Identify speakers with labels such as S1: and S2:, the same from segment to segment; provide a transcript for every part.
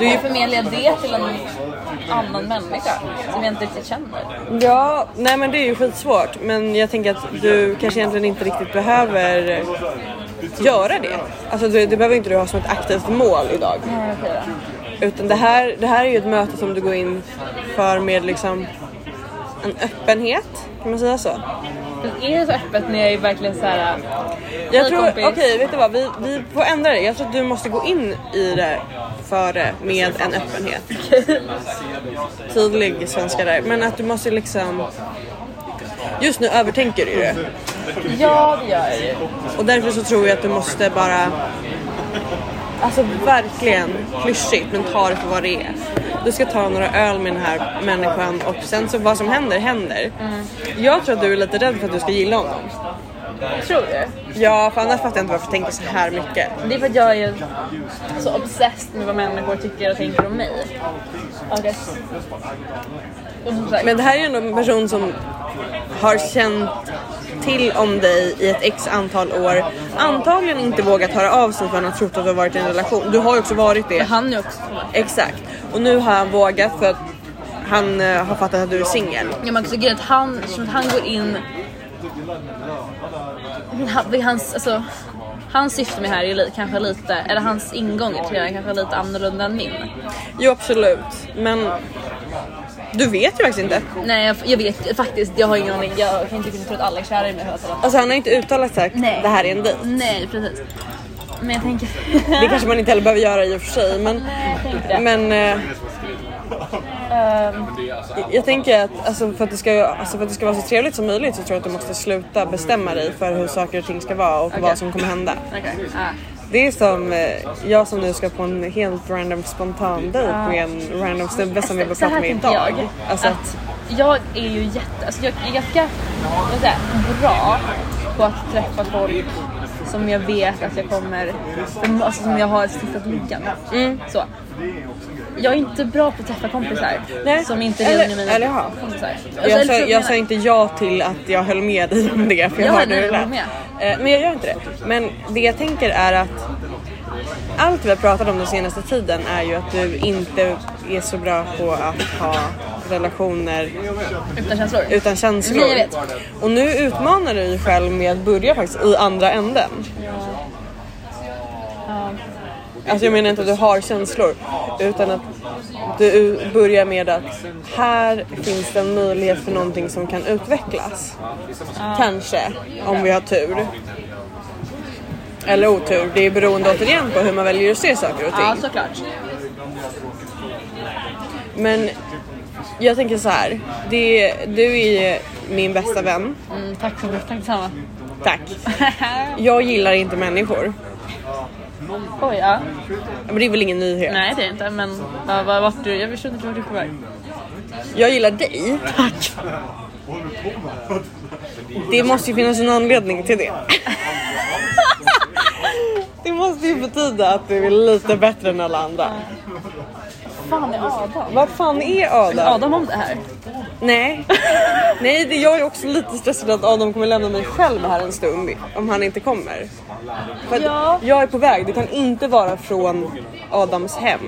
S1: Du är ju förmedlar det till en annan människa som jag inte riktigt känner.
S2: Ja, nej men det är ju skitsvårt. Men jag tänker att du kanske egentligen inte riktigt behöver göra det. Alltså du, det behöver inte du ha som ett aktivt mål idag.
S1: Nej, okej då.
S2: Utan det här, det här är ju ett möte som du går in för med liksom en öppenhet. Kan man säga så?
S1: Men är det så öppet när jag är verkligen så här...
S2: Jag
S1: "Hej,
S2: tror,
S1: kompis."
S2: okej vet du vad, vi, vi får ändra det. Jag tror att du måste gå in i det för det med en öppenhet. Tydlig svenska där. Men att du måste liksom... Just nu övertänker du ju det.
S1: Ja, det gör jag ju.
S2: Och därför så tror jag att du måste bara... Alltså verkligen klyschigt men ta det för vad det är. Du ska ta några öl med den här människan och sen så vad som händer händer. Jag tror att du är lite rädd för att du ska gilla honom.
S1: Tror du?
S2: Ja för annars fattar jag inte varför du tänker så här mycket.
S1: Det är för att jag är så obsessed med vad människor tycker och tänker om mig. Okay. Och som sagt,
S2: Men det här är ju ändå en person som har känt till om dig i ett x antal år. Antagligen inte vågat höra av sig för han har trott att du har varit i en relation. Du har ju också varit det.
S1: han är också
S2: Exakt. Och nu har han vågat för att han eh, har fattat att du är singel.
S1: Ja men också grejen att han, som att han går in... Men han- det är Hans, alltså, hans syfte med det här är li, kanske lite, eller hans ingång tror jag är kanske lite annorlunda än min.
S2: Jo absolut. Men du vet ju faktiskt inte.
S1: Nej jag, jag vet faktiskt, jag har ingen aning. Jag kan inte kunna tro att alla är kära i mig hela tiden.
S2: Alltså han har inte uttalat sagt
S1: Nej.
S2: det här är en dejt.
S1: Nej precis. Men jag tänker...
S2: Det kanske man inte heller behöver göra i och för sig. Men,
S1: Nej, jag tänker det.
S2: men eh,
S1: Ehm,
S2: Jag tänker att alltså, för, att det ska, alltså, för att det ska vara så trevligt som möjligt så tror jag att du måste sluta bestämma dig för hur saker och ting ska vara och vad som kommer hända.
S1: Okej. Ah.
S2: Det är som eh, jag som nu ska på en helt random spontan dejt med en random snubbe som jag
S1: Så-
S2: vill
S1: så
S2: prata
S1: här
S2: med
S1: tänker
S2: idag.
S1: jag.
S2: Alltså,
S1: att jag är ju jätte, alltså jag är ganska vad ska jag säga, bra på att träffa folk som jag vet att jag kommer, som- alltså som jag har stiftat lyckan med.
S2: Mm.
S1: Så. Jag är inte bra på att träffa kompisar
S2: Nej.
S1: som inte
S2: Eller-
S1: ringer mina
S2: eller ja.
S1: kompisar. Alltså,
S2: jag sa, jag sa inte ja till att jag höll med dig om det för jag
S1: Ja,
S2: hörde
S1: nej,
S2: hur det
S1: jag håller
S2: lät.
S1: med.
S2: Eh, Men jag gör inte det. Men det jag tänker är att allt vi har pratat om den senaste tiden är ju att du inte är så bra på att ha relationer
S1: utan känslor.
S2: utan känslor.
S1: Nej, jag vet.
S2: Och nu utmanar du dig själv med att börja faktiskt i andra änden.
S1: Ja.
S2: Alltså jag menar inte att du har känslor utan att du börjar med att här finns det en möjlighet för någonting som kan utvecklas. Kanske, om vi har tur. Eller otur, det är beroende återigen på hur man väljer att se saker och ting.
S1: ja, såklart.
S2: Men jag tänker så här, det, du är min bästa vän.
S1: Mm, tack så mycket, tack detsamma.
S2: Tack. Jag gillar inte människor.
S1: Oj, ja.
S2: Men det är väl ingen nyhet.
S1: Nej det är det inte men vad- vad- vart du, jag förstår inte vart du är på väg.
S2: Jag gillar dig. Tack. Det måste ju finnas en anledning till det. Det måste ju betyda att du är lite bättre än alla andra.
S1: Fan är Adam?
S2: Vad fan är Adam?
S1: Adam om det här?
S2: Nej. Nej, det, jag är också lite stressad att Adam kommer lämna mig själv här en stund om han inte kommer. För att
S1: Ja.
S2: Jag är på väg, det kan inte vara från Adams hem.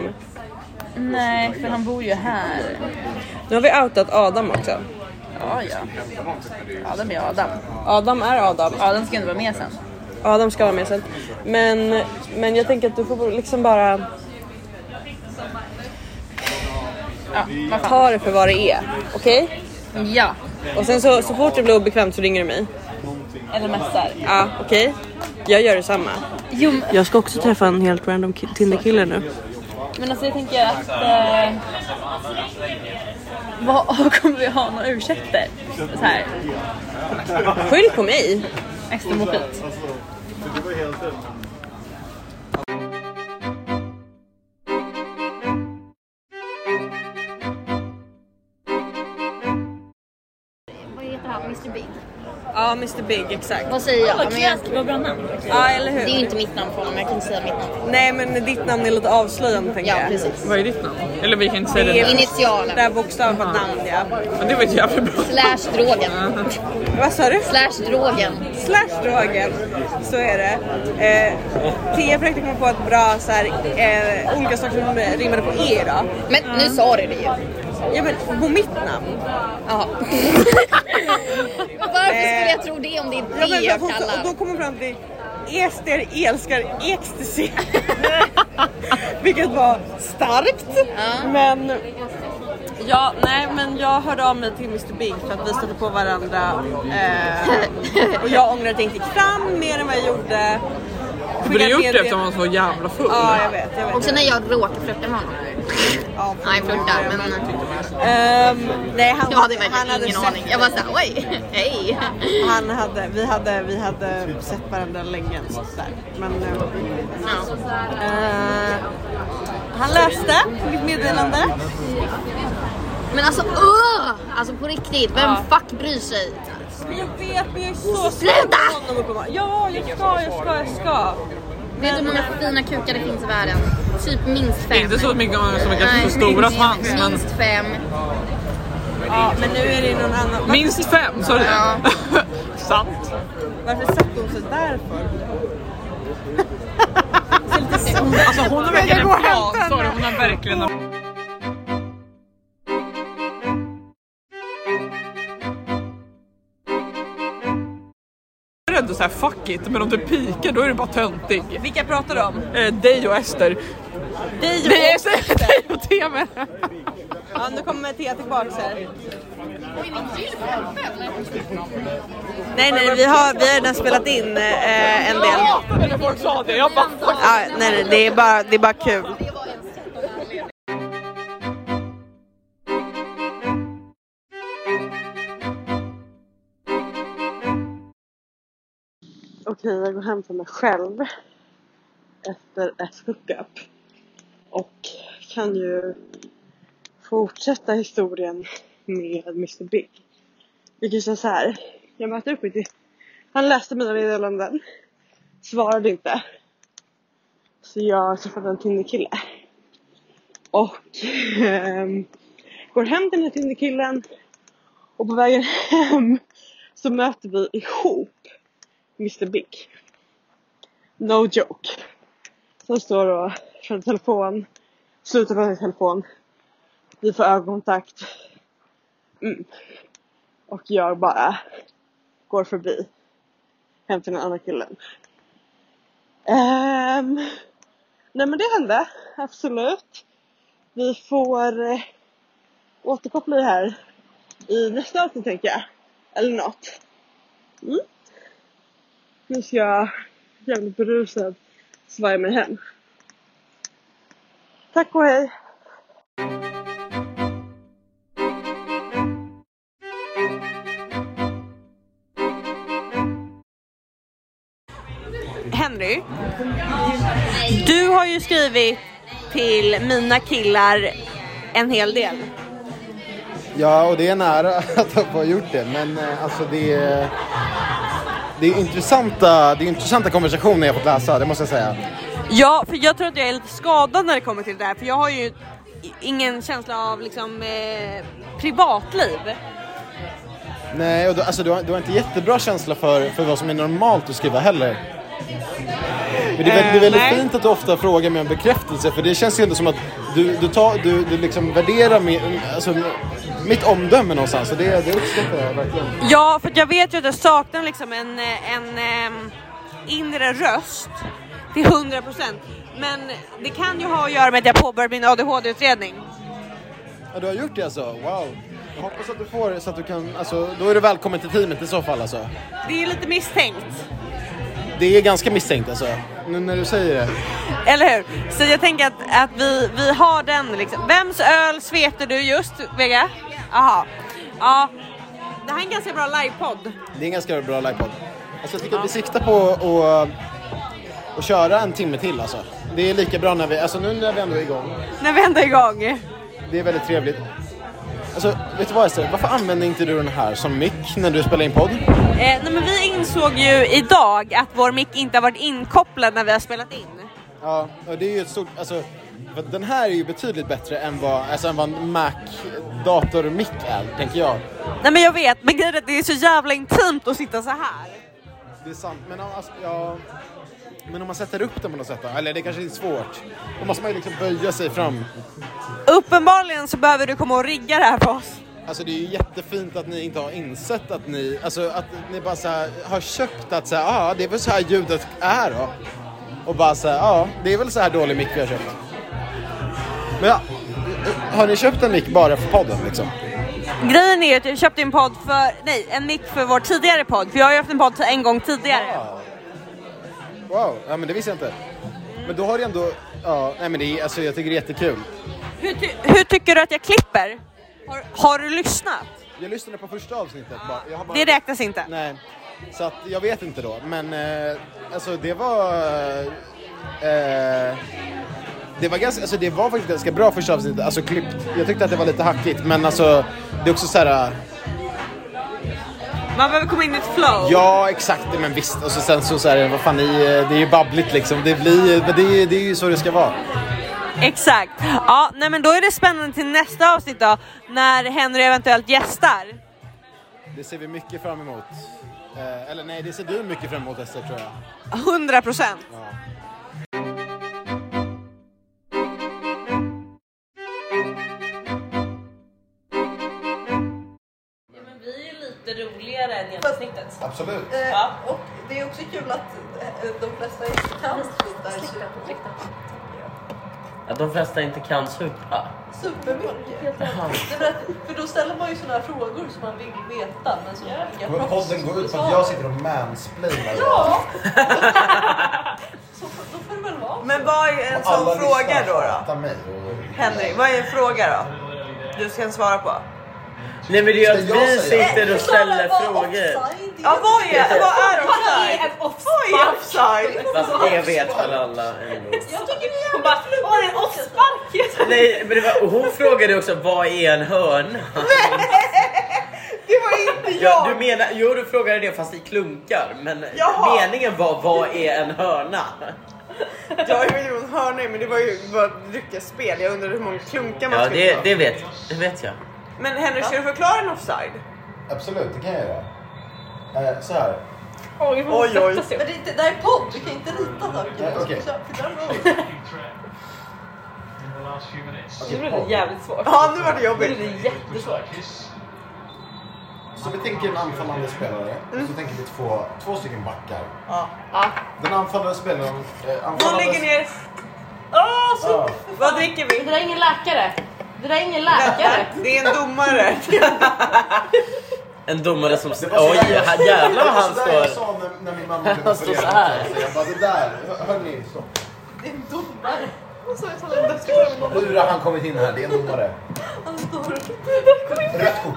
S1: Nej, för han bor ju här.
S2: Nu har vi outat Adam också.
S1: Ja, ja. Adam är Adam.
S2: Adam är Adam.
S1: Adam ska inte vara med sen.
S2: Ja, de ska vara med sen. Men, men jag tänker att du får liksom bara
S1: Ja, vad fan.
S2: ta det för vad det är. Okej?
S1: Ja,
S2: Och sen så, så fort det blir obekvämt så ringer du mig.
S1: eller mässar.
S2: Ja, okej? Jag gör detsamma.
S1: Jo, men-
S2: Jag ska också träffa en helt random ki- Tinder-kille nu.
S1: men alltså jag tänker att... Eh, vad, kommer vi ha några ursäkter? Så här,
S2: Skyll på mig!
S1: extra mojit.
S3: Vad heter han? Mr Big.
S2: Ja, Mr Big exakt.
S3: Vad säger jag?
S4: Vad
S3: Men jag
S4: kul, vad bra namn.
S2: Ja, eller
S3: det är ju
S2: hur?
S3: inte mitt namn på honom, jag kan inte säga mitt namn.
S2: Nej, men ditt namn är lite avslöjande tänker
S3: Ja,
S2: jag.
S3: precis.
S4: Vad är ditt namn? Eller vi kan inte säga
S2: Det
S4: det
S2: är-
S4: nu.
S2: Det här
S3: Initialen.
S2: bokstaven på namn ja.
S4: Men det var ett jävligt bra
S3: Slash drogen.
S2: Vad sa du?
S3: Slash drogen.
S2: Slash drogen. Så är det. Eh, Tia försökte komma på ett bra så här, eh, olika saker som rimmade på E idag.
S3: Men nu sa du det ju.
S2: Ja men på mitt namn.
S3: Jaha. Varför skulle jag tro det om det är
S2: Ja,
S3: det
S2: men,
S3: jag
S2: hon, och då
S3: kallar?
S2: kommer hon fram till Ester älskar ecstasy. Vilket var starkt. Men ja, nej men jag hörde av mig till Mr Big för att vi stötte på varandra. Eh, och jag ångrar att jag inte gick fram mer än vad jag gjorde.
S4: Du borde gjort det
S2: Skickat
S4: eftersom
S2: meddelande-
S4: han var så jävla full.
S2: Ja jag vet, jag vet.
S3: Också när jag råkar flörta med honom.
S2: Ja,
S3: Nej, flörtar men
S2: Ehm, nej han,
S3: jag hade verkligen
S2: han hade
S3: ingen
S2: sett-
S3: aning. Jag bara såhär oj, hej.
S2: Han hade, vi hade, vi hade sett varandra länge så där. Men eh,
S3: Ja.
S2: Eh, han läste mitt meddelande.
S3: Men alltså öh! Alltså på riktigt, vem fuck bryr sig?
S2: Jag vet men jag är så sugen
S3: Sluta!
S2: på honom att komma. Ja, jag ska, jag ska, jag ska.
S3: Vet du hur många fina kukar det finns i världen? Typ minst
S4: Det
S3: fem.
S4: är Inte så mycket som är
S3: Nej,
S4: kanske så stora
S3: minst-
S4: svans men
S3: Minst fem.
S2: Ja, men nu är det någon annan. Var,
S4: minst fem, sa du det?
S3: Ja.
S4: Sant.
S2: varför satte hon sig där för?
S4: Alltså hon har verkligen en plan, sa du. Hon har verkligen en Jag är ändå såhär fuck it, men om du pikar då är du bara töntig.
S2: Vilka pratar du om?
S4: Eh, dig och Ester.
S2: Dig och
S4: Nej Ester, dig och TV.
S2: Ja, nu kommer Thea tillbaks här. Nej, nej, vi har, vi har redan spelat in eh, en del.
S4: Jag hatade när folk sa det, jag bara fuck.
S2: Ja, nej, nej, det är bara, det är bara kul. Okej, jag går hem till mig själv efter ett hookup och kan ju fortsätta historien med Mr Big. Vilket känns så här. Jag möter upp mitt i... Han läste mina meddelanden, svarade inte. Så jag träffade en Tinderkille. Och ehm, går hem till den här Tinderkillen och på vägen hem så möter vi ihop Mr Big. No joke. Som står och framför telefon, slutar prata i telefon. Vi får ögonkontakt. Mm. Och jag bara går förbi. Hem till den andra killen. Ehm, nej men det hände, absolut. Vi får eh, återkoppla det här i nästa avsnitt tänker jag. Eller något. Mm. Nu ska jag jävligt berusad svaja mig hem. Tack och hej! Henry, du har ju skrivit till mina killar en hel del.
S5: Ja, och det är nära att jag har gjort det. Men eh, alltså det är, det är, intressanta, det är intressanta konversationer jag fått läsa, det måste jag säga.
S2: Ja, för jag tror att jag är lite skadad när det kommer till det här för jag har ju i- ingen känsla av liksom eh, privatliv.
S5: Nej, och du, alltså, du, har, du har inte jättebra känsla för, för vad som är normalt att skriva heller.
S2: Eh,
S5: Men det är, väl- det är väldigt
S2: nej.
S5: fint att du ofta frågar med en bekräftelse för det känns ju ändå som att du, du, tar, du, du liksom värderar min, alltså, mitt omdöme någonstans och det, det uppskattar jag verkligen.
S2: Ja, för att jag vet ju att jag saknar liksom en, eh, en ehm, inre röst till 100 procent. Men det kan ju ha att göra med att jag påbörjat min ADHD-utredning.
S5: Ja, du har gjort det alltså? Wow. Jag hoppas att du får det så att du kan, alltså, då är du välkommen till teamet i så fall alltså.
S2: Det är lite misstänkt,
S5: Det är ganska misstänkt alltså. Nu när du säger det.
S2: eller hur? Så jag tänker att, att vi, vi har den liksom. Vems öl sveter du just, Vega? Jaha. Ja, det här är en ganska bra livepodd.
S5: Det är en ganska bra livepodd. Alltså, jag tycker att vi siktar på att och, och köra en timme till alltså. Det är lika bra när vi, alltså nu när vi ändå är igång.
S6: Eh,
S2: När vi ändå är igång.
S5: Det är väldigt trevligt. Alltså, vet du vad Ester? Varför använder inte du den här som mick när du spelar in podd?
S6: Eh, nej, men vi insåg ju idag att vår mick inte har varit inkopplad när vi har spelat in.
S5: Ja, och det är ju ett stort... Alltså, för den här är ju betydligt bättre än vad, alltså, än vad en Mac datormick är, tänker jag.
S6: Nej men jag vet, men grejen är att det är så jävla intimt att sitta så här.
S5: Det är sant, men, alltså, ja, men om man sätter upp den på något sätt då? Eller det kanske är svårt. Då måste man ju liksom böja sig fram.
S6: Uppenbarligen så behöver du komma och rigga det här för oss.
S5: Alltså det är ju jättefint att ni inte har insett att ni, alltså att ni bara så här, har köpt att så här, ah, det är väl så här ljudet är då. Och bara så här, ja, ah, det är väl så här dålig mick vi har köpt. Men ja, har ni köpt en mick bara för podden liksom?
S6: Grejen är ju att jag köpte en podd för, nej en mick för vår tidigare podd. För jag har ju haft en podd en gång tidigare.
S5: Wow, ja men det visste jag inte. Men då har du ändå, ja, nej men det är, alltså jag tycker det är jättekul.
S6: Hur, ty- hur tycker du att jag klipper? Har, har du lyssnat?
S5: Jag lyssnade på första avsnittet bara. Jag har bara...
S6: Det räknas inte.
S5: Nej, så att jag vet inte då. Men eh, alltså det var... Eh, det var, ganska, alltså det var faktiskt ganska bra första avsnittet, alltså klippt. Jag tyckte att det var lite hackigt men alltså det är också så här.
S6: Man behöver komma in i ett flow.
S5: ja exakt men visst och så sen så, så här, vad fan det är, ju- det är ju babbligt liksom. Det blir, men det är, det är ju så det ska vara.
S6: Exakt. Ja, nej men då är det spännande till nästa avsnitt då. När Henry eventuellt gästar.
S5: Det ser vi mycket fram emot. Eh, eller nej, det ser du mycket fram emot Ester tror jag.
S6: 100 procent. Vi är lite roligare än genomsnittet.
S5: Absolut.
S7: Eh, och det är också kul att eh, de flesta inte kan sluta
S8: Att de flesta inte kan supa.
S7: supermycket. Nej, men att, för då ställer man ju sådana här frågor som man vill veta men som inga proffs besvarar.
S5: sitter och mansplainar.
S7: Ja! Så f- då får det väl vara.
S2: Men vad är en sån fråga då, då?
S5: Mig
S2: Henrik, vad är en fråga då? Du ska svara på.
S8: Nej men det är ju
S5: Ska
S8: att
S5: jag
S8: vi
S5: säga?
S8: sitter och ställer frågor.
S2: Ja, vad är, vad är
S7: Vad
S2: offside?
S7: är en
S2: Vad är offside?
S8: Fast det vet väl alla ändå.
S7: Jag tycker ni Hon bara, åh det är en offspark!
S8: Nej men det var, och hon frågade också vad är en hörna?
S2: Det var inte
S8: Ja,
S2: jag.
S8: du menar, jo du frågade det fast i klunkar men
S2: Jaha.
S8: meningen var vad är en hörna?
S2: Jag är miljon hörnor, men det var ju bara ett dryckesspel. Jag undrar hur många klunkar man
S8: Ja
S2: skulle
S8: det,
S2: ta.
S8: det vet det vet jag.
S2: Men Henrik, ska du förklara en offside?
S5: Absolut, det kan jag göra. Eh, så här.
S1: Oj,
S2: Oj, oj.
S1: oj, oj.
S7: Men det, det där är podd, du kan inte rita
S5: Nej,
S7: saker.
S5: Eh, okej.
S1: Nu blev det jävligt svårt.
S2: Ja, nu var det
S1: Nu blev
S2: jobbigt.
S1: det jättesvårt.
S5: Så vi tänker en anfallande spelare och så tänker vi två, två stycken backar.
S2: Ja.
S5: Den anfallande spelaren... Eh,
S2: Någon
S5: anfallande
S2: ligger ner.
S5: Ja.
S2: Vad dricker vi?
S3: Det där är ingen läkare. Det där är ingen läkare.
S2: Det är en domare.
S8: En domare som...
S5: Det var så
S8: Oj,
S5: där jag-
S8: han- jävlar vad han
S5: Alltså, Det var så där jag
S8: står.
S5: sa när, när min mamma blev
S8: Han står
S5: opererad.
S8: så här.
S5: Så jag bara, det där, hör- hörni, stopp.
S7: Det är en domare. Hon sa ju så här,
S5: Hur har han kommit in här? Det är en domare.
S7: han står
S5: Rött kort.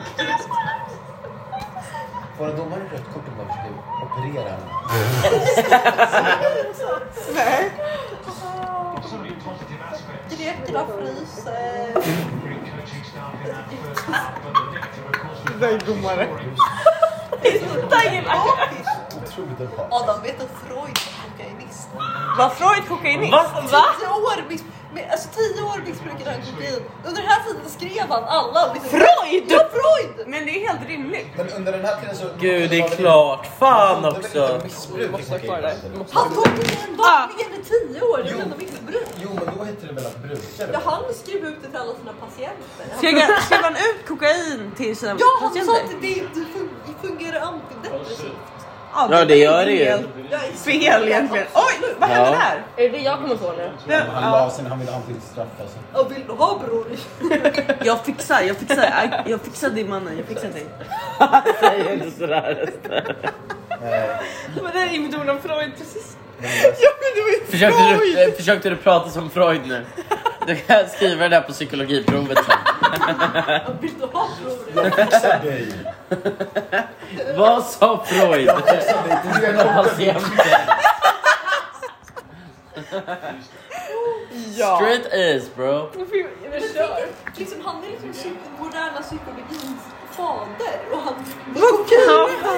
S5: Våra domare rött kort om de försöker operera henne.
S7: grekerna fryser.
S5: Otroligt erfaren.
S7: Adam, vet att Freud var kokainist?
S2: Var Freud kokainist?
S7: Tio år, miss, med, alltså, tio år missbrukade han kokain. Under den här tiden skrev han alla. Liksom,
S2: Freud?
S7: Ja, Freud!
S2: Men det är helt rimligt.
S5: Men under den här tiden så...
S8: Gud det är klart, fan
S5: Det är väl
S8: också.
S5: inte missbruk i kokain?
S7: Han tog kokain dagligen i tio år. Det var ändå missbruk.
S5: Jo, men då heter det väl att bruka
S7: Ja,
S5: det?
S7: han skrev ut det till alla sina patienter.
S2: Skrev han- skrev han ut kokain till sina
S7: Ja, han sa
S2: patienter?
S7: att det inte fun- fungerar
S5: Oh,
S7: antidepressivt.
S8: Ja, det gör det ju.
S7: Jag är
S2: Fel egentligen. Oj, vad hände
S8: Ja.
S2: där?
S1: Är det det jag kommer få nu?
S2: Vem-
S5: Han la sig när han ville antistraff alltså.
S7: Och vill du ha bror?
S2: Jag fixar, jag fixar, jag, jag fixar dig mannen, jag fixar dig.
S8: Säg inte sådär.
S1: Men det är imitation av Freud precis.
S8: Försökte du, eh, försökte du prata som Freud nu? Du kan skriva det där på psykologiprovet sen.
S7: Vill du ha bror?
S5: Fixa dig!
S8: Vad sa Freud? Sina patienter.
S2: Ja.
S8: Straight A's bro.
S7: Men tänk, liksom, han är liksom psyk- den moderna psykologins fader. Och han,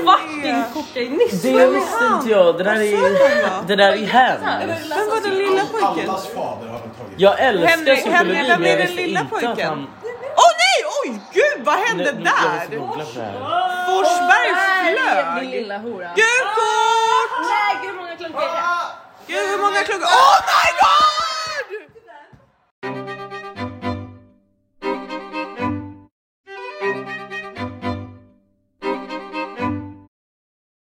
S6: Han fucking kokainist!
S8: Det visste inte jag. Det där är, det där är hemskt.
S2: Vem var den lilla pojken?
S9: Allas fader har väl tagit
S8: Jag älskar
S2: Henry,
S8: psykologi
S2: Henry, vem
S8: men
S2: är
S8: jag
S2: den
S8: visste
S2: lilla
S8: inte att
S2: pojken?
S8: han...
S2: Åh oh, nej! Oj gud vad
S8: Nu-
S2: hände
S8: nu- jag måste
S2: där?
S8: googla på det här.
S2: Forsberg
S1: Där, din
S2: flög!
S1: lilla hora.
S2: Gult kort!
S1: Nej, gud hur många klunkar är det?
S2: Gud hur många klockor? Oh my god!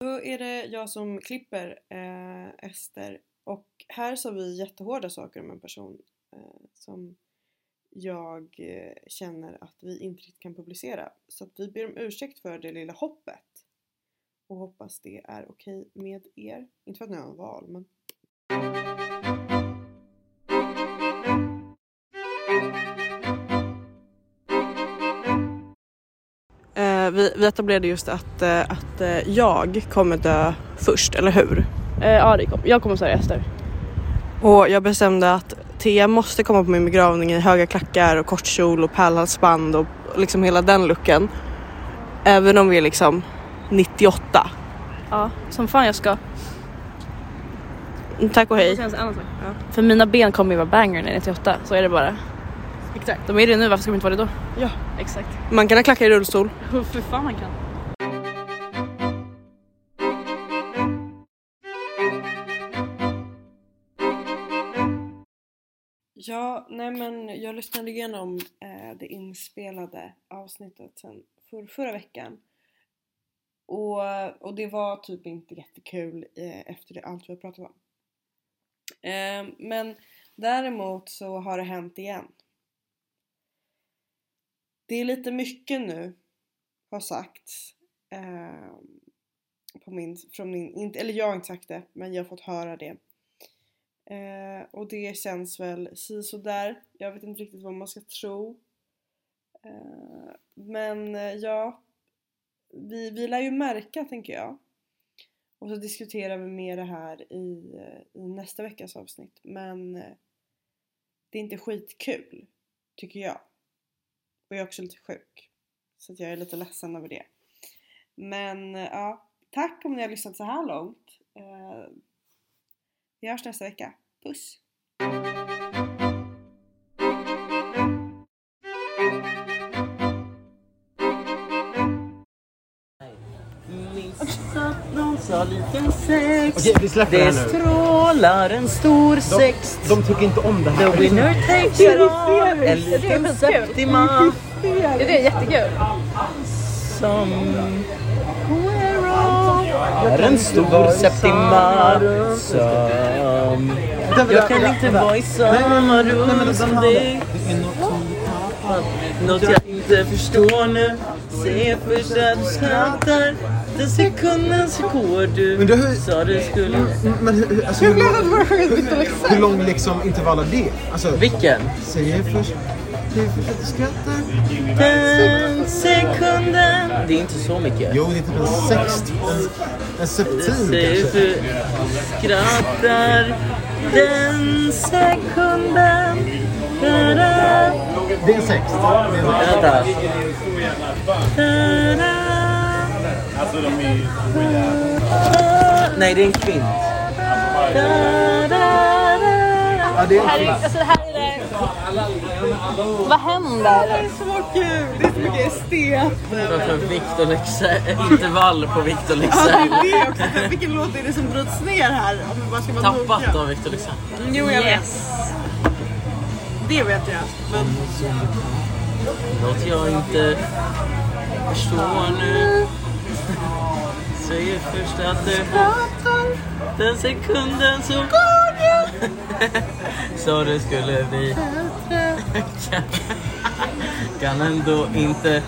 S2: Då är det jag som klipper eh, Ester och här sa vi jättehårda saker om en person eh, som jag eh, känner att vi inte riktigt kan publicera. Så att vi ber om ursäkt för det lilla hoppet och hoppas det är okej med er. Inte för att ni har något val men Eh, vi, vi etablerade just att, eh, att eh, jag kommer dö först, eller hur?
S1: Eh, Ja, det kom. jag kommer säga Ester.
S2: Och jag bestämde att Thea måste komma på min begravning i höga klackar och kort kjol och pärlhalsband och liksom hela den looken. Även om vi är liksom 98.
S1: Ja, som fan jag ska.
S2: Tack och hej.
S1: För mina ben kommer ju vara banger när jag är 98, så är det bara. Exakt. De är det nu, varför ska de inte vara det då?
S2: Ja.
S1: exakt.
S2: Man kan ha klackar i rullstol.
S1: För fan man kan.
S2: Ja, nej men jag lyssnade igenom eh, det inspelade avsnittet sen för, förra veckan. Och, och det var typ inte jättekul eh, efter det, allt vi har pratat om. Eh, men däremot så har det hänt igen. Det är lite mycket nu har sagts. Eh, på min, från min, inte, eller jag har inte sagt det, men jag har fått höra det. Eh, och det känns väl si så där. Jag vet inte riktigt vad man ska tro. Eh, men eh, ja, vi, vi lär ju märka tänker jag. Och så diskuterar vi mer det här i, eh, i nästa veckas avsnitt. Men eh, det är inte skitkul, tycker jag. Och jag är också lite sjuk. Så att jag är lite ledsen över det. Men eh, ja, tack om ni har lyssnat så här långt. Eh, vi hörs nästa vecka. Puss!
S9: Okej, vi släpper det här nu.
S8: strålar en stor
S9: De, de tycker inte om det här.
S8: takes it all. En liten septima
S1: Det är jättekul.
S8: som är en stor septima som Jag kan inte vara i samma rum som dig Något jag inte förstår nu Se först att du skrattar Den sekunden så går
S9: Men du
S8: du
S9: har ju-
S8: Sa du skulle
S9: Men hur, hur- alltså, hur, lång, hur lång liksom intervall är det? Alltså,
S8: Vilken?
S9: säger först... Säger först att du skrattar.
S8: Den sekunden Det är inte så mycket
S9: Jo, det är typ en sext. En, en septim kanske.
S8: du skrattar den sekunden da-da,
S9: Det är en sext. Det är en sext.
S8: Vänta. Nej, det är en kvint.
S9: Ja, det är en
S1: Alltså det här är det... Vad händer?
S8: Varför Victor Leksell? Intervall på Victor Leksell.
S2: Det också, för vilken låt är det som bryts ner här? Om vi bara ska vara
S8: Tappat
S2: noga.
S8: av Victor Leksell.
S2: Jo, jag vet. Det vet jag. Men
S8: Något jag inte förstår nu. Säger först att du Den sekunden så går du. Sa du skulle bli. Kan- Kan ändå inte.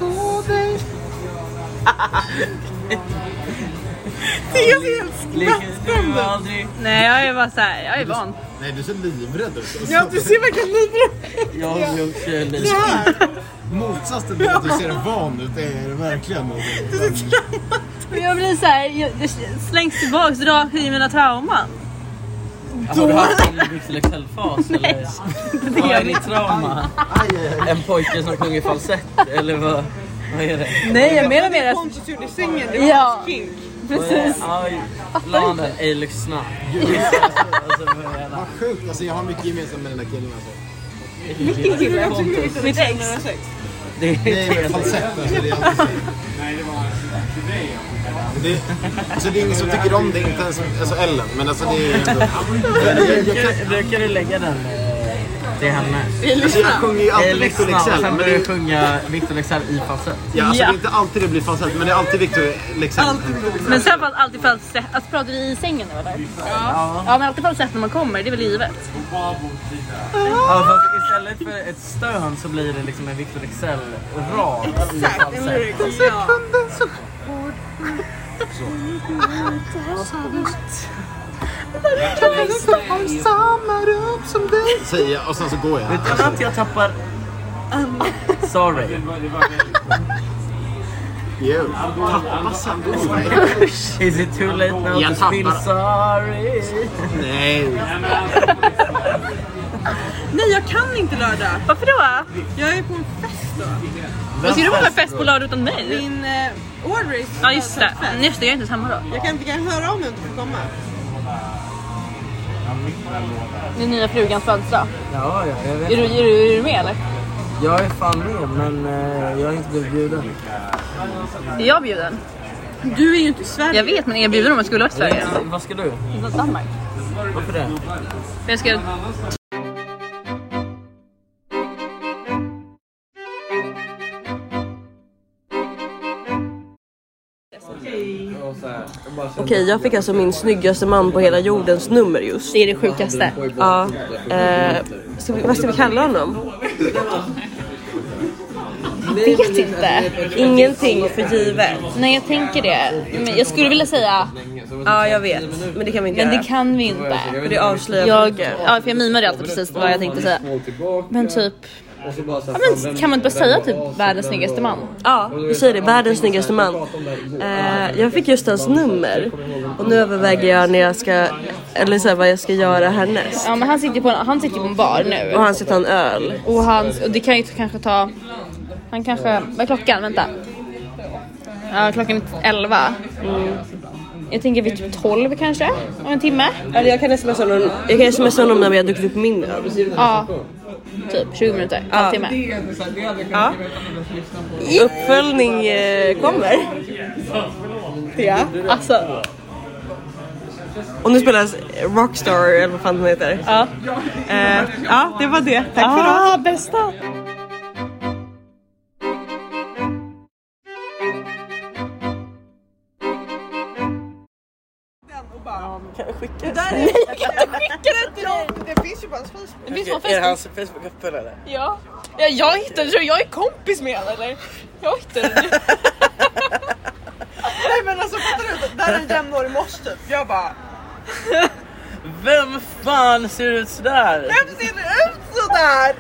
S2: det är helt
S8: Lyckas du aldrig.
S6: Nej jag är bara såhär, jag är van.
S9: Nej, du ser livrädd ut.
S2: Ja, du ser verkligen livrädd
S8: Jag har gjort fel.
S9: Motsatsen till att du ser van ut är det verkligen någonting.
S6: Jag blir såhär, jag- det slängs tillbaks rakt i mina trauman.
S8: Har du haft en mittlexelfas eller? Vad är ditt trauma? En pojke som sjunger falsett eller vad, vad är det?
S1: Nej jag menar mer att...
S4: Pontus gjorde singeln, det var
S1: Ja,
S4: kink.
S1: precis.
S8: Aj, Planen Alex Snack.
S5: Vad sjukt, alltså jag har mycket gemensamt med den där killen alltså.
S8: Vilken kille? Pontus.
S1: Mitt ex.
S8: Det är
S5: Nej men falsett alltså, det är alltid så. det, alltså det är ingen som tycker om det, inte ens alltså Ellen. Men alltså det är ändå... Jag, jag, jag,
S8: Brukar du lägga den eh, till henne?
S5: alltså jag sjunger ju alltid
S8: Alex
S5: Victor
S8: Snack och
S5: Leksell.
S9: alltså,
S8: sen
S5: Men
S8: börjar
S5: det,
S8: du sjunga Victor Leksell i falsett.
S5: ja, alltså det är inte alltid det blir falsett, men det är alltid Victor Leksell.
S1: Men sen fanns alltid falsett. Alltså pratar du i sängen nu eller? Ja. Ja men alltid falsett när man kommer, det är väl livet.
S8: Ja, fast istället för ett stön så blir det liksom en Victor Leksell-rad i falsett.
S5: Säger jag och sen så går jag.
S8: Utan att jag tappar... Sorry.
S5: Jo. Tappa sambon.
S8: Is it too late now
S5: Jag
S8: to feel
S5: tappar.
S8: sorry?
S5: Nej.
S4: Nej jag kan inte lördag.
S1: Varför då?
S4: Jag är på en fest då.
S1: Vad ska du vara på fest på lördag utan mig?
S4: Min eh, Audrey
S1: Ja just det. Just det, jag är inte ens hemma då.
S4: Jag kan, vi kan höra om jag inte får komma.
S1: Din nya frugans födelsedag.
S8: Ja, ja, jag
S1: Är du,
S8: vet.
S1: är, du, är du med eller?
S8: Jag är fan med men eh, jag har inte blivit bjuden.
S1: Är jag bjuden?
S4: Du är ju inte i Sverige.
S1: Jag vet men är jag bjuden om jag skulle vara i Sverige?
S8: Eh, Vad ska du?
S1: Danmark.
S8: Varför det?
S1: För jag ska...
S2: Okej, jag fick alltså min snyggaste man på hela jordens nummer just.
S1: Det är det sjukaste.
S2: Ja. Eh, ska vi, vad ska vi kalla honom?
S1: Vet inte.
S2: Ingenting för givet.
S1: Nej jag tänker det. Men jag skulle vilja säga,
S2: Ja, jag vet. Men det kan vi inte
S1: men det
S2: göra.
S1: kan vi inte.
S2: För det avslöjar
S1: Jag,
S2: mycket.
S1: ja, för jag mimade alltid precis vad jag tänkte säga. Men typ, ja, men kan man inte bara säga typ världens snyggaste man?
S2: Ja, vi säger det. Världens snyggaste man. Eh, jag fick just hans nummer. Och nu överväger jag när jag ska... Eller så här, vad jag ska göra härnäst.
S1: Ja men han sitter ju på en, han sitter ju på en bar nu.
S2: Och han ska ta en öl.
S1: Och, hans, och det kan ju kanske ta... Han kanske... Vad är klockan? Vänta. Ja, klockan är 11. Jag tänker vid typ 12 kanske? Om en timme?
S2: Eller jag kan smsa honom, jag kan smsa honom när vi har druckit upp min öl.
S1: Ja. Typ 20 minuter. Halvtimme.
S2: Uppföljning eh, kommer.
S1: Ja. Alltså.
S2: Och nu spelas Rockstar eller vad fan den heter.
S1: Ja.
S2: Eh, ja, det var det. Tack för idag.
S1: Ah, bästa.
S4: Det finns ju bara hans Facebook.
S1: Det finns på
S8: Är
S1: Facebook.
S8: hans Facebook-uppföljare?
S1: Ja. ja. Jag hittade, tror jag är kompis med honom eller? Jag hittade det.
S4: Nej men alltså fattar du? Det här är en jämnårig mors typ. Jag bara,
S8: Vem fan ser ut sådär?
S4: vem ser det ut sådär?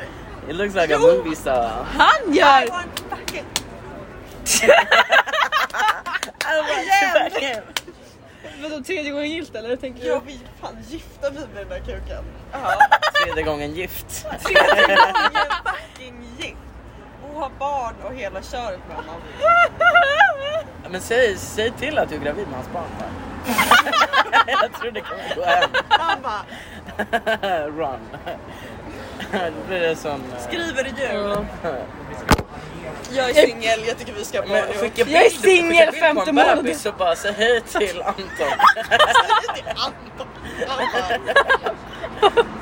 S8: It looks like a movie star.
S1: Han gör!
S4: I want fucking...
S1: Vadå tredje gången gillt eller? Tänker
S4: Jag vill fan gifta mig med den där kuken.
S8: Tredje gången gift.
S4: Tredje gången fucking gift. Och ha barn och hela köret med honom.
S8: Men säg, säg till att du är gravid med hans barn. va? jag tror det kommer gå hem.
S4: Han bara,
S8: Run. Då blir det som... eh,
S4: skriver i jul. Jag är singel, jag tycker vi ska ha barn
S8: Men
S4: ihop.
S8: skicka bild,
S1: Jag är singel
S8: skicka bild på en
S1: femte månaden.
S8: bebis och bara säg hej till Anton.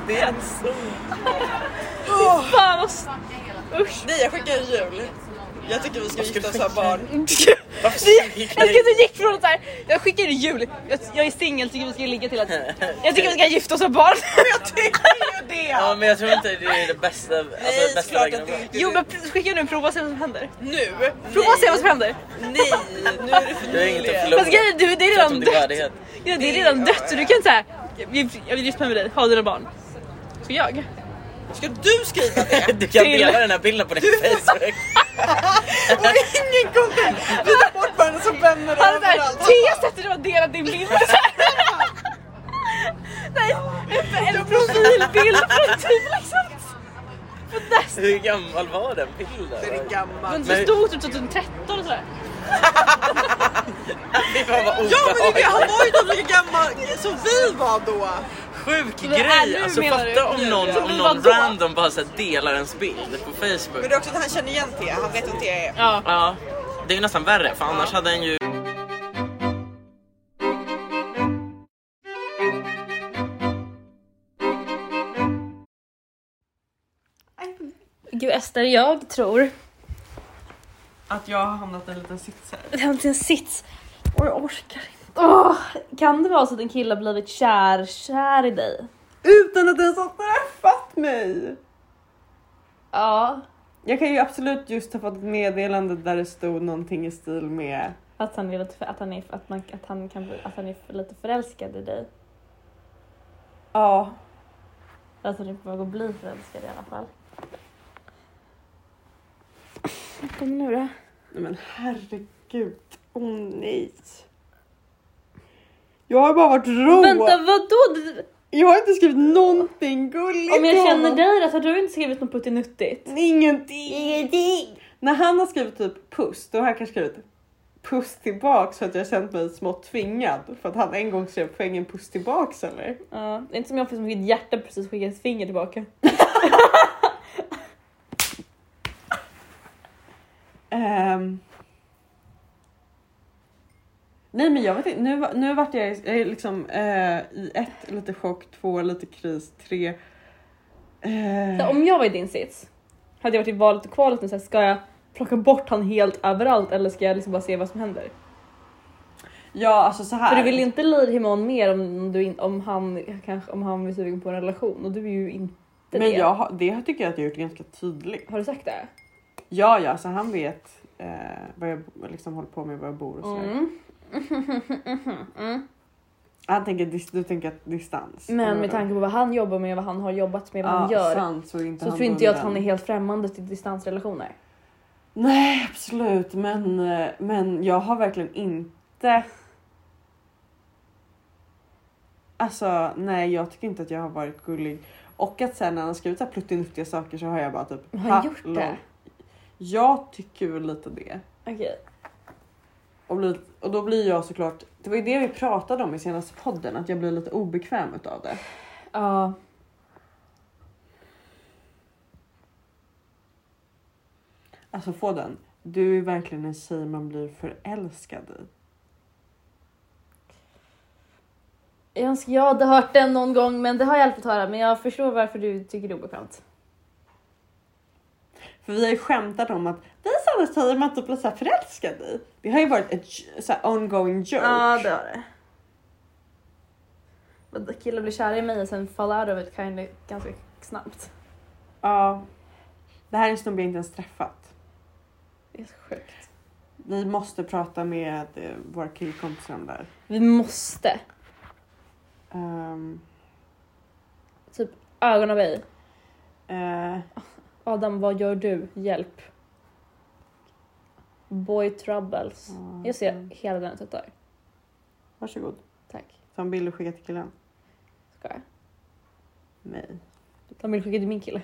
S8: det är en sol.
S1: Fan vad... s-
S4: Nej jag skickar i jul. Jag tycker vi ska gifta oss och ha barn.
S8: Varför skriker
S1: Jag
S8: ni?
S1: tycker att du gick från att såhär, jag skickar i jul, jag, jag är singel tycker vi ska ligga till att jag tycker vi ska gifta oss och ha barn.
S4: Jag tycker ju det!
S8: Ja men jag tror inte det är det bästa, alltså,
S4: Nej,
S8: det
S4: det är
S8: bästa
S4: klart
S8: vägen
S4: att
S8: att
S4: det
S8: gå.
S4: inte är
S1: Jo
S4: det.
S1: men skicka nu en prova och se vad som händer.
S4: Nu!
S1: Prova och se vad som händer.
S4: Nej, nu är det för
S8: Du har inget att
S4: nyligen.
S8: förlora.
S1: Fast grejen är, du, det är
S8: Prata
S1: redan
S8: om din
S1: dött.
S8: värdighet.
S1: Ja, det är redan dött så du kan såhär, jag vill gifta mig med dig, ha dina barn. Så jag?
S4: Ska du skriva det?
S8: Du kan
S1: Till-
S8: dela den här bilden på din Facebook.
S4: Och ingen kontakt! Vi tar bort varandra som vänner
S1: Han är såhär,
S4: överallt.
S1: T sätter du har delat din bild. Så här. Nej,
S7: bild från typ liksom...
S8: Hur gammal var den bilden? Den är
S7: Men
S8: gammal.
S7: det stod typ 2013 och sådär.
S4: Ja men det är det, han var ju typ lika gammal som vi var då.
S8: Sjuk
S4: Men, äh,
S8: grej!
S4: nu
S8: Alltså
S4: menar du?
S8: fatta om någon,
S4: Som
S8: om
S4: vi
S8: någon
S4: var då.
S8: random bara så här delar ens bild på Facebook.
S4: Men det är också att han känner igen Thea, han vet vem Thea är.
S7: Ja.
S8: Det är ju nästan värre för annars hade en ju...
S7: Gud Ester, jag tror
S4: Att jag har hamnat i en liten sits här.
S7: Det är inte en sits. Och jag orkar inte. Åh, kan det vara så att en kille har blivit kär, kär i dig?
S2: Utan att ens ha träffat mig!
S7: Ja.
S2: Jag kan ju absolut just ha fått ett meddelande där det stod någonting i stil med
S7: Att han, vill att, att, han är, att, man, att, han kan bli, att han är lite förälskad i dig.
S2: ja,
S7: Att han är på väg att bli förälskad i alla fall. Kom nu då.
S2: Nej men herregud, åh nej. Jag har bara varit rå.
S7: Vänta, vadå? Du-
S2: Jag har inte skrivit någonting gulligt
S7: Om jag
S2: till
S7: känner
S2: honom.
S7: dig rätt, har du inte skrivit något puttinuttigt?
S2: Ingenting. Ingenting. När han har skrivit typ puss, då har jag kanske skrivit puss tillbaks för att jag har känt mig smått tvingad. För att han en gång skrev poängen puss tillbaks eller?
S7: Ja, det är inte som jag som fick ett hjärta precis skicka ett finger tillbaka.
S2: Ehm. Nej men jag vet inte, nu, nu vart jag, jag är liksom eh, i ett lite chock, två lite kris, tre. eh,
S7: Så om jag var i din sits, hade jag varit i valet och kvalet nu, så här, ska jag plocka bort han helt överallt eller ska jag liksom bara se vad som händer?
S2: Ja alltså så här.
S7: För du vill inte lira him on mer om, du in, om, han, kanske, om han är sugen på en relation och du är ju inte det.
S2: men jag, har- det tycker jag att jag har gjort ganska tydligt.
S7: Har du sagt det?
S2: Ja ja, så han vet eh, vad jag liksom håller på med, var jag bor och sådär.
S7: Mm. mm.
S2: Han tänker, dis- du tänker att distans.
S7: Men med tanke på vad han jobbar med, vad han har jobbat med, vad han
S2: Ja,
S7: gör
S2: sant, så är inte
S7: så
S2: han
S7: tror inte jag att
S2: bunden.
S7: han är helt främmande till distansrelationer.
S2: Nej absolut men, eh, men jag har verkligen inte Alltså nej jag tycker inte att jag har varit gullig. Och att sen när han har skrivit så här pluttinuttiga saker så har jag bara typ
S7: Har han
S2: "Ha,
S7: gjort
S2: lol."
S7: det?
S2: Jag tycker väl lite det.
S7: Okej.
S2: Och, blir, och då blir jag såklart, det var ju det vi pratade om i senaste podden, att jag blir lite obekväm utav det.
S7: Ja.
S2: Alltså få den. Du är verkligen en tjej man blir förälskad i.
S7: Jag önskar jag hade hört den någon gång men det har jag aldrig fått höra men jag förstår varför du tycker det är obekvämt.
S2: För vi har ju skämtat om att vi är sådana tjejer man inte blir så här förälskad i. Det har ju varit ett j- så här ongoing joke.
S7: det har det. Vadå, Killar blir kära i mig och sen fall out of it kind of, ganska snabbt.
S2: Ja. Det här är en snubbe jag inte ens träffat.
S7: Det är så sjukt.
S2: Vi måste prata med eh, våra killkompisar om det här.
S7: Vi måste.
S2: Ehm,
S7: Typ ögon av ej.
S2: eh,
S7: Adam, vad gör du? Hjälp. Boy troubles. Jag ser hela den tuttar.
S2: varsågod.
S7: Tack.
S2: Ta en bild och skicka till killen.
S7: Ska jag?
S2: Nej.
S7: De vill skicka till min kille.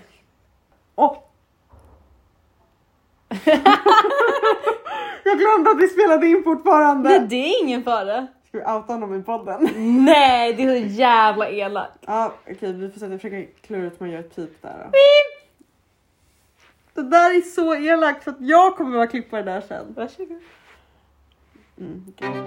S2: Åh! jag glömde att vi spelade in fortfarande.
S7: Nej, det är ingen fara.
S2: Ska vi outa honom i podden?
S7: Nej, det är så jävla elakt.
S2: Ja, okej, vi får sätta, försöka klura ut hur man gör ett pip där. Då.
S7: Pip!
S2: Det där är så elakt för att jag kommer vara klippare där sen.
S7: Varsågod.
S2: Mm, okej.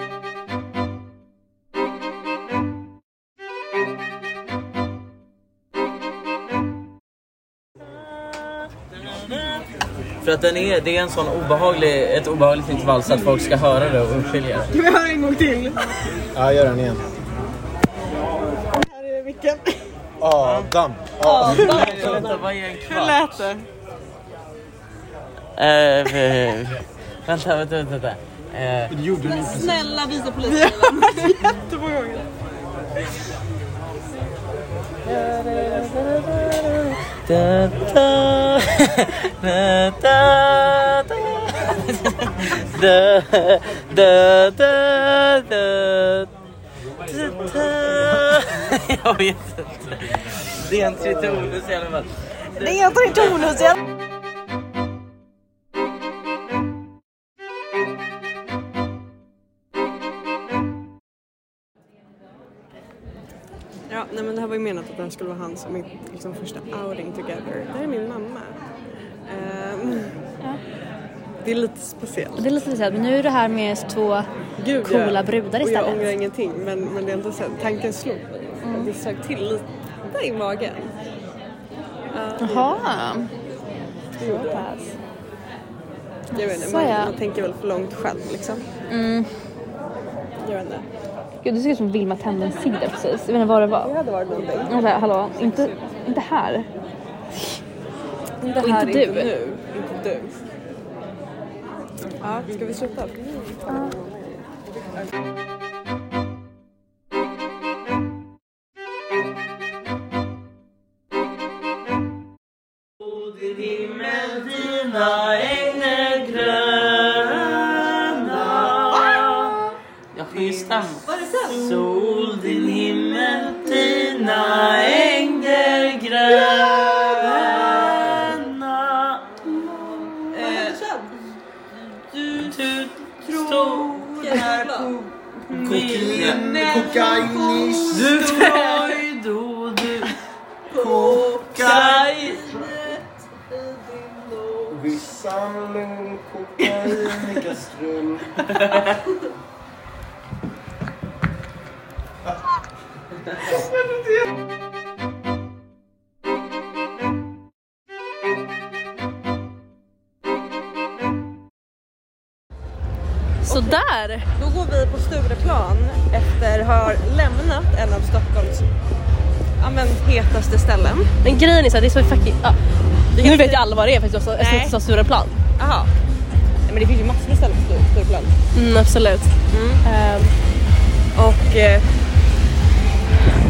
S8: För att den är, det är en sån obehaglig, ett obehagligt intervall så att folk ska höra det och urskilja det.
S2: Ska vi höra en gång till?
S5: Ja, gör den igen.
S2: Här är micken.
S5: Adam.
S8: Vänta, vad är en
S2: Hur
S8: kvart?
S2: lät det?
S8: Eh, eh, vänta, vänta, vänta. vänta. Eh,
S4: Snälla visa
S2: Vi
S4: polisen.
S2: har varit jättemånga gånger.
S8: da, da, da, da, da. Da, da, da, da, da, da. Jag vet inte. Det är en tritonus i alla fall.
S10: Det heter inte Onus.
S2: Ja, nej men det här var ju menat att det här skulle vara hans mitt, liksom, första outing together. Det här är min mamma. Ehm, Det är lite speciellt.
S1: Det är lite speciellt, men nu är det här med två
S2: Gud,
S1: coola
S2: jag-
S1: brudar
S2: och Jag
S1: istället. Mm.
S2: ångrar ingenting men, men det är inte så här, tanken slog. Det sög till lite i magen. Uh,
S11: Jaha.
S2: Så pass. Jag vet inte, man,
S11: Så ja.
S2: man tänker väl för långt själv liksom.
S11: Mm.
S2: Jag vet inte.
S11: Gud, det ser ut som Vilma tände en cigg där precis. Jag vet inte vad det var.
S2: Det hade varit någonting.
S11: Jag bara, hallå, inte, inte här.
S2: Inte
S11: Och
S2: här,
S11: inte
S2: inte
S11: du.
S2: nu. Inte du. Ja, ska vi sluta?
S5: Himmel dina änger gröna
S8: Jag sjunger stämma.
S5: Var det så?
S8: Sol, din himmel, dina änger gröna
S5: Eh,
S8: Du, du tror på
S5: Kokain,
S8: kokainis Du tröj då du kokain
S12: Vi samlar kokain i kastrull.
S2: Sådär! Då går vi på Stureplan efter att ha lämnat en av Stockholms ja, men, hetaste ställen.
S1: Men grejen är så här, det är så fucking... Ja. Nu vet jag alla vad det är för att jag sa- jag ska
S2: Nej.
S1: inte ta Stureplan.
S2: Jaha. Nej, Men det finns ju massor med ställen på Stur- Stureplan.
S1: Mm, absolut.
S2: Ehm, och eh,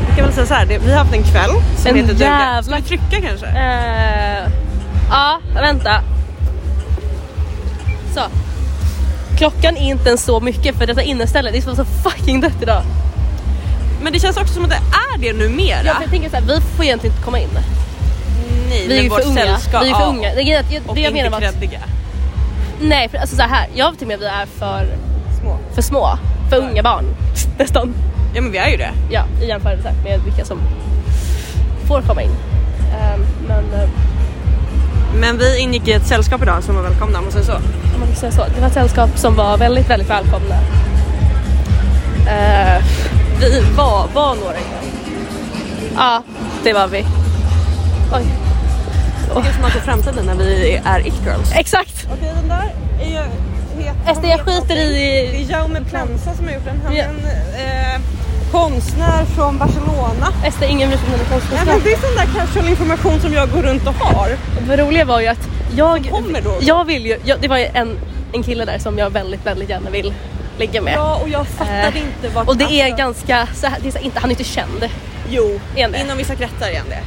S2: jag kan väl säga så här, det, vi har haft en kväll som
S1: En
S2: heter duga.
S1: jävla-
S2: Ska vi trycka kanske?
S1: Eh, ja, vänta. Så. Klockan är inte ens så mycket för detta inneställe, det är så fucking dött idag.
S2: Men det känns också som att det är det numera.
S1: Ja, för jag tänker så här, vi får egentligen inte komma in.
S2: Nej,
S1: vi är ju
S2: men vårt
S1: för unga.
S2: sällskap-
S1: Vi är ju för
S2: ja.
S1: unga. Det, är att jag,
S2: Och
S1: det jag menar
S2: inte
S1: var att,
S2: kreddiga.
S1: nej, för, alltså så här, jag tycker att vi är för
S2: små.
S1: För små. För unga barn. Nästan.
S2: Ja men vi är ju det.
S1: Ja, i jämförelse med vilka som får komma in. Ehm, men eh,
S2: Men vi ingick i ett sällskap idag som var välkomna om man säger så.
S1: om man får säga så, det var ett sällskap som var väldigt, väldigt välkomna. Eh, vi var, var några igen. Ja, det var vi. Oj.
S2: Det kanske man får framtiden när vi är it-girls.
S1: Exakt!
S2: Okej den där är ju het.
S1: Ester, Alltså, jag skiter i-
S2: Det är Jaume Planza som har gjort den. Han
S1: Ja.
S2: är en eh, konstnär från Barcelona.
S1: Ester, ingen bryr sig om dina
S2: Nej, men det är sån där casual information som jag går runt och har.
S1: Det roliga var ju att jag,
S2: kommer då.
S1: jag vill ju, jag, det var ju en, en kille där som jag väldigt, väldigt gärna vill ligga med.
S2: Ja och jag fattade
S1: Eh,
S2: inte vart...
S1: Och det är
S2: alltså-
S1: ganska, så här, det är så här, inte, han är inte känd.
S2: Jo,
S1: Är det?
S2: inom vissa kretsar igen det.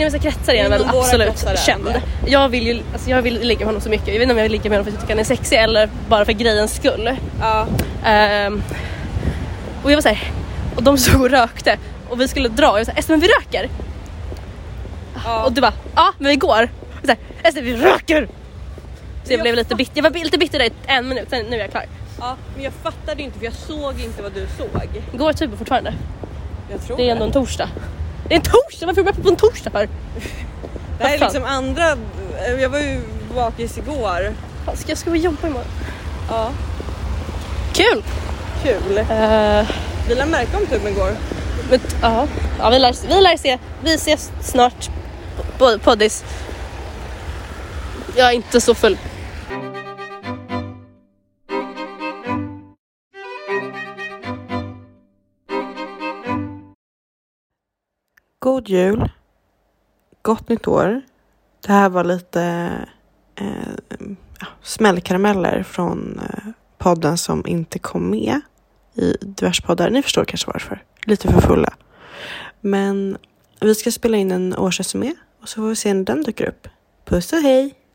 S1: Inom vissa kretsar är han väl
S2: Inom våra kretsar är
S1: absolut
S2: han
S1: känd.
S2: det.
S1: Jag vill ju alltså jag vill ligga med honom så mycket. Jag vet inte om jag vill ligga med honom för att jag tycker han är sexig eller bara för grejens skull.
S2: Ja.
S1: Ehm, och jag var såhär, och de stod och rökte och vi skulle dra och jag var såhär, Ester men vi röker! Och du bara, ja men vi går! Och så här, Ester vi röker! Så jag,
S2: Jag
S1: blev lite bitter, jag var lite bitter där i en minut, sen nu är jag klar.
S2: ja men jag fattade ju inte för jag såg inte vad du såg.
S1: Går tuben typ fortfarande?
S2: Jag tror
S1: Det är ändå en torsdag. Det är en torsdag! Varför är du på en torsdag för?
S2: Det här är
S1: Vad
S2: liksom andra, eh, jag var ju bakis igår.
S1: Fan, ska jag ska vi jobba imorgon?
S2: Ja,
S1: Kul!
S2: kul.
S1: Eh,
S2: Vi lade märke om tuben igår.
S1: Men, ja, ja vi, lär, vi lär se. Vi ses snart. På- Poddis. Jag är inte så full.
S13: God jul. Gott nytt år. Det här var lite eh, ja, smällkarameller från eh, podden som inte kom med i diverse poddar. Ni förstår kanske varför. Lite för fulla. Men vi ska spela in en årsresumé och så får vi se när den dyker upp. Puss och hej!